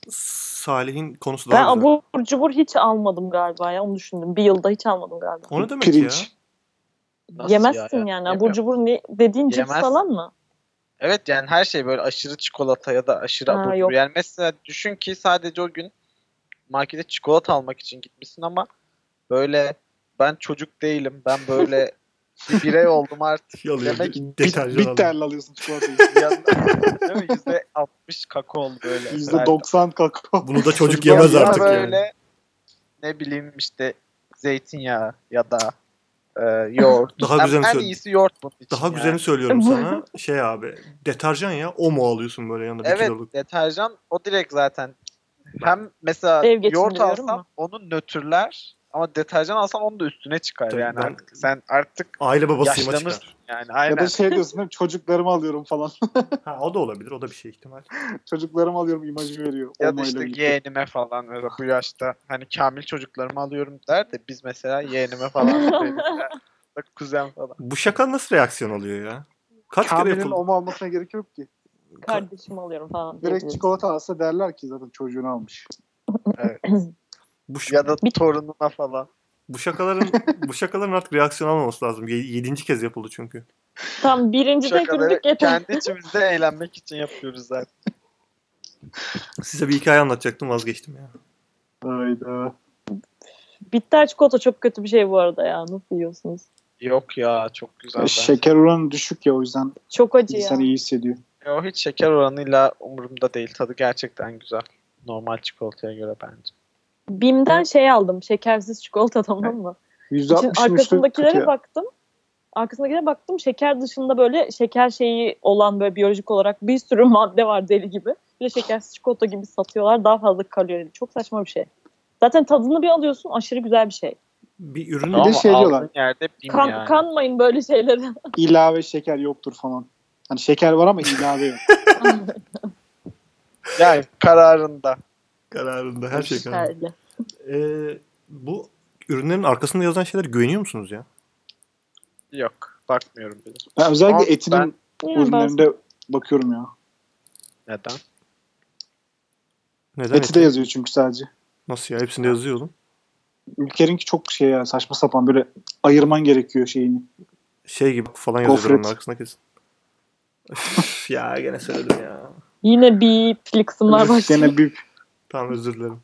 Salih'in konusu Ben daha güzel. abur cubur hiç almadım galiba ya onu düşündüm. Bir yılda hiç almadım galiba. O ne demek ya? Pirinç. Nasıl Yemezsin ya? yani Yemem. abur cubur ne, dediğin cips Yemezsin. falan mı? Evet yani her şey böyle aşırı çikolata ya da aşırı Ha, abur cubur. yok. Yani mesela düşün ki sadece o gün markete çikolata almak için gitmişsin ama böyle ben çocuk değilim. Ben böyle bir birey oldum artık. Şey alıyor, Demek bir Bit, deterjan alıyor. bitterli alıyorsun çikolatayı. yanında değil mi? %60 kakaolu böyle. %90 kakao. Bunu da çocuk Çocuk yemez yemez artık böyle yani. ne bileyim işte zeytinyağı ya da e, yoğurt. Daha En- güzelini en söyle. iyisi yoğurt bunun için. Daha yani. güzelini söylüyorum sana. Şey abi deterjan ya o mu alıyorsun böyle yanında bir Evet kiloluk. deterjan o direkt zaten. Hem mesela Ev geçindiriyorum yoğurt alsam ama. onu nötrler ama deterjan alsam onu da üstüne çıkar Tabii yani. ben- Artık sen artık Aile babasıyma Yaşlanırsın. çıkar. yani Ya aynen. da şey diyorsun değil mi? Çocuklarımı alıyorum falan. Ha, o da olabilir. O da bir şey ihtimal. Çocuklarımı alıyorum imajı veriyor. Ya da Olmayla işte birlikte. yeğenime falan mesela bu yaşta hani kamil çocuklarımı alıyorum der de biz mesela yeğenime falan veririz ya da kuzen falan. Bu şaka nasıl reaksiyon alıyor ya? Kaç kere Kamil'in yapıldı? omu almasına gerek yok ki. Kardeşim alıyorum falan. Direkt diyebiliriz. çikolata alsa derler ki zaten çocuğunu almış. Bu, ş- Ya da torununa falan. bu şakaların bu şakaların artık reaksiyon almaması lazım. Ye- yedinci kez yapıldı çünkü. Tam birinci de Şakaları güldük yeter. kendi içimizde eğlenmek için yapıyoruz zaten. Size bir hikaye anlatacaktım vazgeçtim ya. Hayda. Bitter çikolata çok kötü bir şey bu arada ya. Nasıl yiyorsunuz? Yok ya çok güzel. ben- Şeker oranı düşük ya o yüzden Çok acı ya. insan hani- iyi hissediyor. Yo, E, hiç şeker oranıyla umurumda değil. Tadı gerçekten güzel. Normal çikolataya göre bence. Bim'den şey aldım. Şekersiz çikolata tamam mı? Şimdi 160 arkasındakilere baktım. Arkasındakilere baktım. Şeker dışında böyle şeker şeyi olan böyle biyolojik olarak bir sürü madde var deli gibi. Bir de şekersiz çikolata gibi satıyorlar. Daha fazla kalorili. Çok saçma bir şey. Zaten tadını bir alıyorsun. Aşırı güzel bir şey. Bir ürün Tamam. şey aldığın diyorlar. yerde bin Kan, yani. Kanmayın böyle şeylere. ilave şeker yoktur falan. Hani şeker var ama ilave yok. Yani kararında. kararında her şey kararında. Herhalde. Ee, bu ürünlerin arkasında yazan şeyler güveniyor musunuz ya? Yok. Bakmıyorum bile. Ben özellikle Ama etinin ben- Yani ürünlerinde bakıyorum ya. Neden? Neden? Eti de yazıyor çünkü sadece. Nasıl ya? Hepsinde yazıyor oğlum. Ülkerinki çok şey ya saçma sapan böyle ayırman gerekiyor şeyini. Şey gibi falan yazıyordur Gofret. onun arkasında kesin. Üf, ya gene söyledim ya. Yine bipli kısımlar Öf, başlıyor. Gene bir Tamam özür dilerim.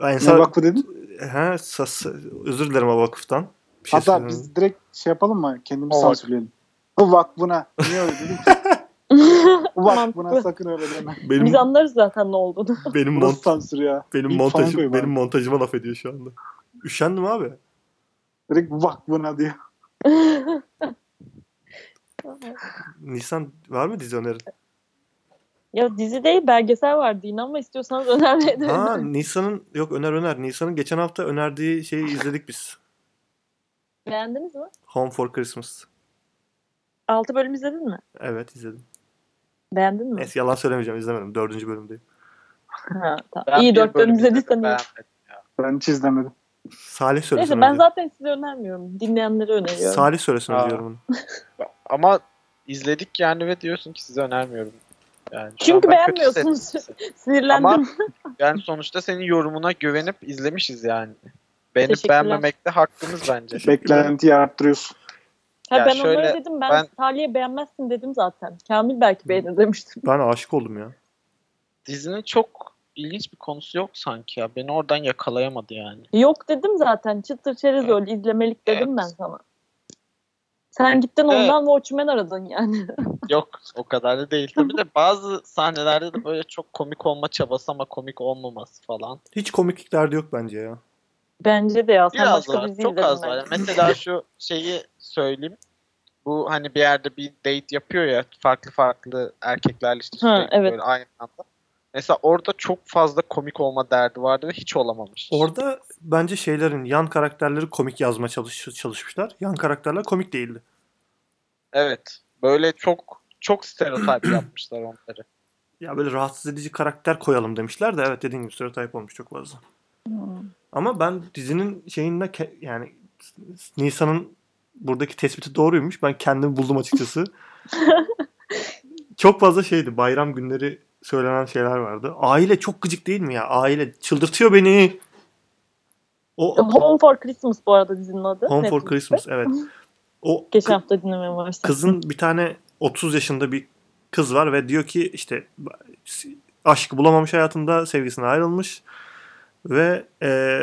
Ben ne insan... vakfı dedin. He, sas- özür dilerim o vakıftan. Bir şey Hatta söylemedim. biz direkt şey yapalım mı? Kendimiz O vakıf. sansürleyelim. O vakfına. Niye öyle dedin ki? O vakfına Mantıklı. sakın öyle deme. Benim, Biz anlarız zaten ne olduğunu. benim, Bu mont, nasıl sansür ya? benim, İlk falan koy montajım, bari. benim montajıma laf ediyor şu anda. Üşendim abi. Direkt vakfına diyor. Nisan var mı dizi önerin? ya dizi değil belgesel vardı yine ama istiyorsanız önermeyebilirim. Ha Nisan'ın yok öner öner. Nisan'ın geçen hafta önerdiği şeyi izledik biz. Beğendiniz mi? Home for Christmas. 6 bölüm izledin mi? Evet izledim. Beğendin mi? Neyse yalan söylemeyeceğim izlemedim. Dördüncü bölümdeyim. Ha, tamam. Ben İyi bir 4 bölüm izledim, izlediysen iyi. beğenmedim. Ben hiç izlemedim. Salih söylesin Neyse ben zaten size önermiyorum. Dinleyenlere öneriyorum. Salih söylesin Aa. diyorum onu. Ama izledik yani ve diyorsun ki size önermiyorum. Yani şu Çünkü an ben kötü beğenmiyorsunuz. hissettim. Sinirlendim. Ama yani sonuçta senin yorumuna güvenip izlemişiz yani. Beğenip Teşekkürler. beğenmemekte hakkımız bence. Beklentiyi arttırıyorsun. ha, ya ben şöyle, onları dedim. Ben, ben- Salih'e beğenmezsin dedim zaten. Kamil belki beğenir demiştim. Ben aşık oldum ya. Dizinin çok ilginç bir konusu yok sanki ya. Beni oradan yakalayamadı yani. Yok dedim zaten. Çıtır çerez öyle izlemelik dedim Evet. ben sana. Sen gittin Evet. ondan Watchmen aradın yani. Yok o kadar da değil. Tabii de bazı sahnelerde de böyle çok komik olma çabası ama komik olmaması falan. Hiç komiklikler de yok bence ya. Bence de ya. Sen Biraz başka var. dizi Çok izledin az var. bence. Mesela şu şeyi söyleyeyim. Bu hani bir yerde bir date yapıyor ya farklı farklı erkeklerle işte Ha, sürekli evet. böyle aynı anda. Mesela orada çok fazla komik olma derdi vardı ve hiç olamamış. Orada bence şeylerin yan karakterleri komik yazma çalış, çalışmışlar. Yan karakterler komik değildi. Evet. Böyle çok çok stereotip yapmışlar onları. Ya böyle rahatsız edici karakter koyalım demişler de evet dediğim gibi stereotip olmuş çok fazla. Ama ben dizinin şeyinde ke- yani Nisan'ın buradaki tespiti doğruymuş. Ben kendimi buldum açıkçası. çok fazla şeydi. Bayram günleri söylenen şeyler vardı. Aile çok gıcık değil mi ya? Aile çıldırtıyor beni. O E, Home for Christmas bu arada dizinin adı. Home for Netflix'te. Christmas evet. O Geçen kı- hafta dinlemeye başladım. kızın bir tane 30 yaşında bir kız var ve diyor ki işte aşkı bulamamış hayatında sevgisine ayrılmış ve e,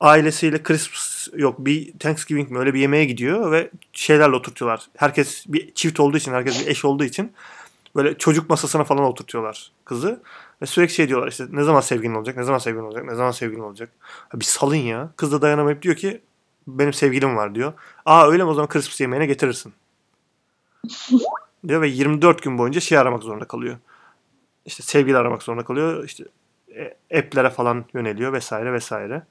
ailesiyle Christmas yok bir Thanksgiving mi öyle bir yemeğe gidiyor ve şeylerle oturtuyorlar. Herkes bir çift olduğu için herkes bir eş olduğu için böyle çocuk masasına falan oturtuyorlar kızı. Ve sürekli şey diyorlar işte ne zaman sevgilin olacak, ne zaman sevgilin olacak, ne zaman sevgilin olacak. Ya bir salın ya. Kız da dayanamayıp diyor ki benim sevgilim var diyor. Aa öyle mi o zaman Christmas yemeğine getirirsin. diyor ve 24 gün boyunca şey aramak zorunda kalıyor. İşte sevgili aramak zorunda kalıyor. İşte e, app'lere falan yöneliyor vesaire vesaire.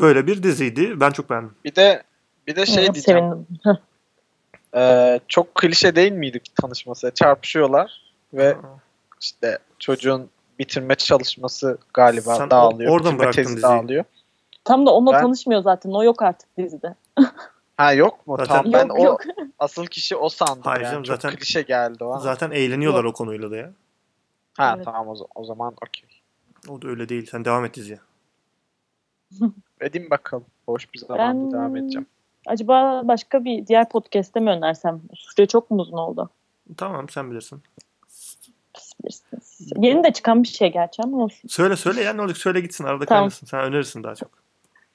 Böyle bir diziydi. Ben çok beğendim. Bir de bir de şey Evet, diyeceğim. Sevindim. Ee, çok klişe değil miydi tanışması? Çarpışıyorlar ve işte çocuğun bitirme çalışması galiba Sen dağılıyor. or- oradan bitirme bıraktın tezi diziyi. dağılıyor. Tam da onunla Ben- tanışmıyor zaten. O yok artık dizide. Ha yok mu? Zaten- Tamam ben yok o yok. asıl kişi o sandım. Hayır yani. canım, Çok zaten- klişe geldi o. an. Zaten eğleniyorlar o konuyla da ya. Ha Evet. tamam o, z- o zaman okey. O da öyle değil. Sen devam et diziye. Edin bakalım. Boş bir zamanda Ben- devam edeceğim. Acaba başka bir diğer podcast'te mi önersem? Süre çok mu uzun oldu? Tamam sen bilirsin. Siz bilirsiniz. Yeni de çıkan bir şey gerçi ama olsun. Söyle söyle ya ne olacak söyle gitsin arada Tamam. kaynasın. Sen önerirsin daha çok.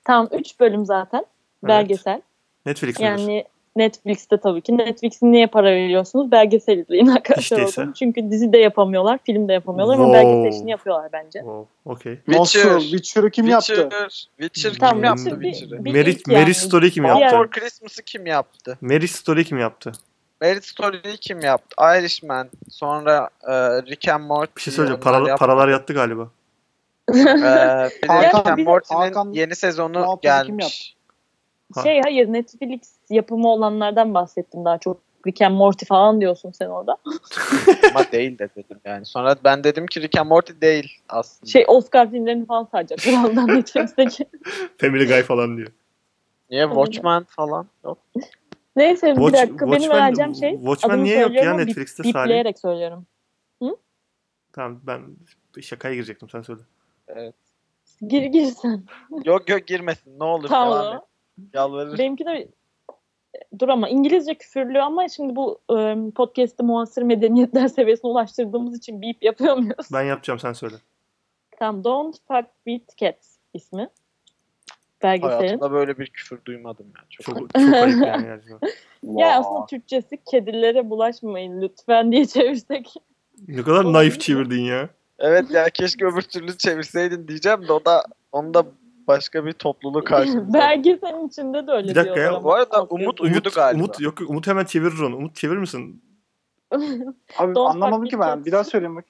Tamam 3 bölüm zaten Evet. belgesel. Netflix önerisi. Yani Netflix'te tabii ki. Netflix'in niye para veriyorsunuz? Belgesel izleyin arkadaşlar. İşteyse. olsun. Çünkü dizi de yapamıyorlar, film de yapamıyorlar ama Wow. belgesel işini yapıyorlar bence. Wow, okey. Witcher. Witcher. Witcher'ı kim yaptı? Witcher, Witcher kim Tamam, yaptı Witcher bir- Witcher'ı? bir Mary, ilk yani. Mary Story Hmm, kim Before yaptı? Christmas'ı kim yaptı? Mary Story kim yaptı? Marriage Story'yi kim yaptı? Irishman. Sonra e, Rick and Morty. Bir şey söyleyeceğim. onlar Paralar, yaptı. paralar yattı galiba. Ee, bir de Hakan- Rick and Morty'nin Hakan- yeni Ne sezonu yaptı, kim gelmiş. Ha. Şey hayır Netflix yapımı olanlardan bahsettim daha çok. Rick and Morty falan diyorsun sen orada. Hmm. Ama değil de dedim yani. Sonra ben dedim ki Rick and Morty değil aslında. Şey Oscar filmlerini falan sayacak birazdan Netflix'teki. Family Guy falan diyor. Niye Watchmen falan yok. Neyse bir Watch- dakika benim Watchmen- vereceğim şey. Watchmen adını niye yok ya söylüyorum ama bip- Netflix'te Salih? Bipleyerek söylüyorum. Tamam ben şakaya girecektim sen söyle. Evet. Gir gir sen. Yok yok girmesin ne olur devam et. Tamam. Yalvarırım. Benimki de dur ama İngilizce küfürlü ama şimdi bu e, podcast'ı muhasır medeniyetler seviyesine ulaştırdığımız için bip yapıyor muyuz? Ben yapacağım sen söyle. Tamam. Don't Fuck With Cats ismi. Belgeselin. Hayatımda böyle bir küfür duymadım ya. Çok, Çok, çok ayıp yani. gerçekten. Ya aslında Türkçesi kedilere bulaşmayın lütfen diye çevirsek. Ne kadar Doğru. naif çevirdin ya. Evet ya keşke öbür türlü çevirseydin diyeceğim de o da onu da başka bir topluluk karşımıza. Belgeselin içinde de öyle Bir dakika diyorlar ya, ama. Bu arada Çok Umut yazık. uyudu galiba. Umut yok yok, Umut hemen çevirir onu. Umut çevirir misin? Abi Don't anlamadım fuck ki with ben. cats. Bir daha söyleyeyim bak.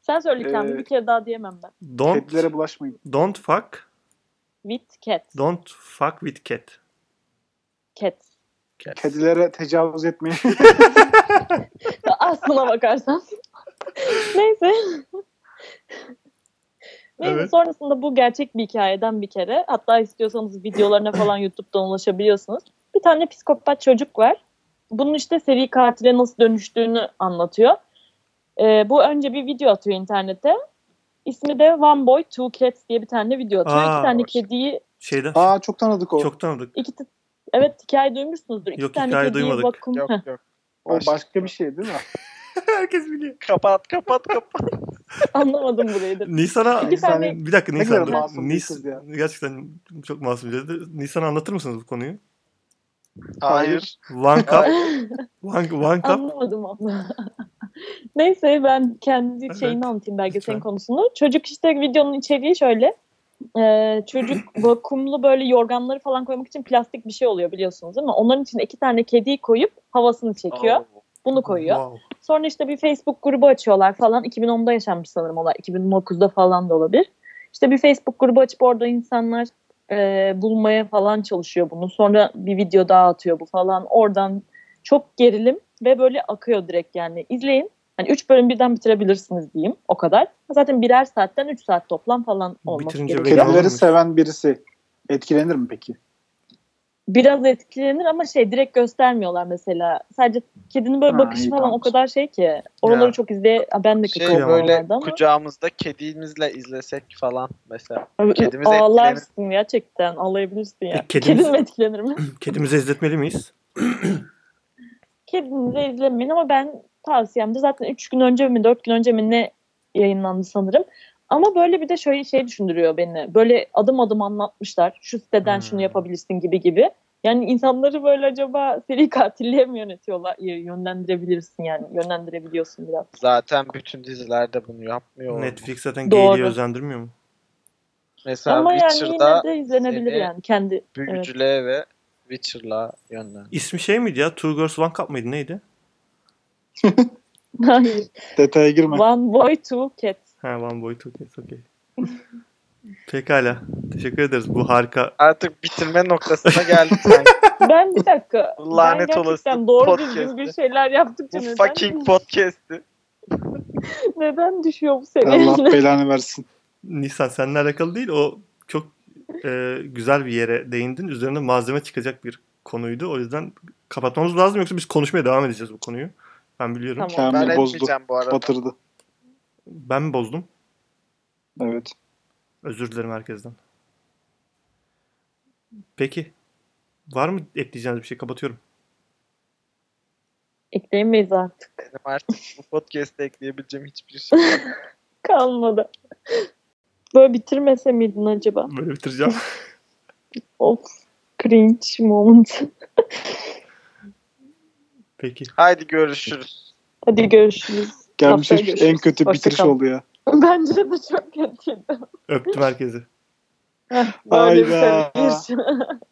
Sen söyle kendi Ee, bir kere daha diyemem ben. Don't Kedilere bulaşmayın. don't fuck With cat. don't fuck with cat. Cat. Kedilere tecavüz etmeyin. Aslına bakarsan. Neyse. Neyse Evet. sonrasında bu gerçek bir hikayeden bir kere. Hatta istiyorsanız videolarına falan YouTube'dan ulaşabiliyorsunuz. Bir tane psikopat çocuk var. Bunun işte seri katile nasıl dönüştüğünü anlatıyor. Ee, bu önce bir video atıyor internete. İsmi de One Boy Two Cats diye bir tane video atıyor. Aa, İki tane hoş. kediyi, Şeyden Aa çok tanıdık o. çok tanıdık. iki t- evet hikaye duymuşsunuzdur. İki Yok, tane hikaye kediyi duymadık. vakum- Yok Heh. yok. o başka bir şey değil mi? Herkes biliyor. Kapat kapat kapat. Anlamadım burayı da. Nisan'a İki tane tane- bir dakika Ne Nisan kadar dur. masum bir kız ya. Nis, gerçekten çok masum bir dedi. Nisan'a anlatır mısınız bu konuyu? Hayır. One cup, Hayır. one, one cup. Anlamadım abla. Neyse ben kendi Evet. şeyini anlatayım belgeselin Lütfen. konusunu. Çocuk işte videonun içeriği şöyle. Ee, çocuk vakumlu böyle yorganları falan koymak için plastik bir şey oluyor biliyorsunuz değil mi? Onların içine iki tane kediyi koyup havasını çekiyor. Bunu koyuyor. Wow. Sonra işte bir Facebook grubu açıyorlar falan. 2010'da yaşanmış sanırım olay. 2009'da falan da olabilir. İşte bir Facebook grubu açıp orada insanlar e, bulmaya falan çalışıyor bunu. Sonra bir video daha atıyor bu falan. Oradan çok gerilim ve böyle akıyor direkt yani. İzleyin. Hani 3 bölüm birden bitirebilirsiniz diyeyim o kadar. Zaten birer saatten 3 saat toplam falan olması Bitirince gerekiyor. vegan Kedileri olmuş. seven birisi etkilenir mi peki? biraz etkilenir ama şey direkt göstermiyorlar mesela. Sadece kedinin böyle Ha, bakışı iyi, falan tamam. o kadar şey ki. Oraları Ya. çok izle. Aa, Ben de Şey kıkırdım böyle oralarda ama. kucağımızda kedimizle izlesek falan mesela. Abi, Kedimiz Ağlarsın gerçekten. Ağlayabilirsin ya. E, kedimiz- Kedin mi etkilenir mi? Kedimize izletmeli miyiz? Kedinizi izlemeyin ama ben tavsiyemde zaten 3 gün önce mi 4 gün önce mi ne yayınlandı sanırım. Ama böyle bir de şöyle şey düşündürüyor beni. Böyle adım adım anlatmışlar. Şu siteden Hmm. şunu yapabilirsin gibi gibi. Yani insanları böyle acaba seri katilliğe mi yönetiyorlar? Y- Yönlendirebilirsin yani. Yönlendirebiliyorsun biraz. Zaten bütün dizilerde bunu yapmıyor. Netflix zaten Doğru. gayliği özendirmiyor mu? Mesela ama yani Witcher'da yine de izlenebilir seni yani. Kendi büyücülüğe ve Witcher'la yönlen. İsmi şey miydi ya? Two Girls One Cup mıydı neydi? Hayır. Detaya girme. One boy two cat. Ha One Boy Two Cats okey. Pekala. Teşekkür ederiz. Bu harika. Artık bitirme noktasına geldik sanki. Ben bir dakika. Bu lanet ben gerçekten olası doğru podcast'te. düzgün bir şeyler yaptıkça Bu neden, fucking podcast'i. neden düşüyor bu seviye? Allah belanı versin. Nisan seninle alakalı değil. O çok e, güzel bir yere değindin. Üzerine malzeme çıkacak bir konuydu. O yüzden kapatmamız lazım. Yoksa biz konuşmaya devam edeceğiz bu konuyu. Ben biliyorum. Tamam. Kamil Ben bozdu. etmeyeceğim bu arada. Batırdı. Ben mi bozdum? Evet. Özür dilerim herkesten. Peki. Var mı ekleyeceğiniz bir şey? Kapatıyorum. Ekleyemeyiz artık. Benim artık bu podcast'e ekleyebileceğim hiçbir şey yok. Kalmadı. Böyle bitirmese miydin acaba? Böyle bitireceğim. Of. Cringe moment. Peki. Haydi görüşürüz. Hadi görüşürüz. Gelmiş Haftaya en kötü Hoşça bitiriş kal. oldu ya. Bence de çok kötüydü. Öptüm herkesi. Böyle bir şey- Hayda. sevgi.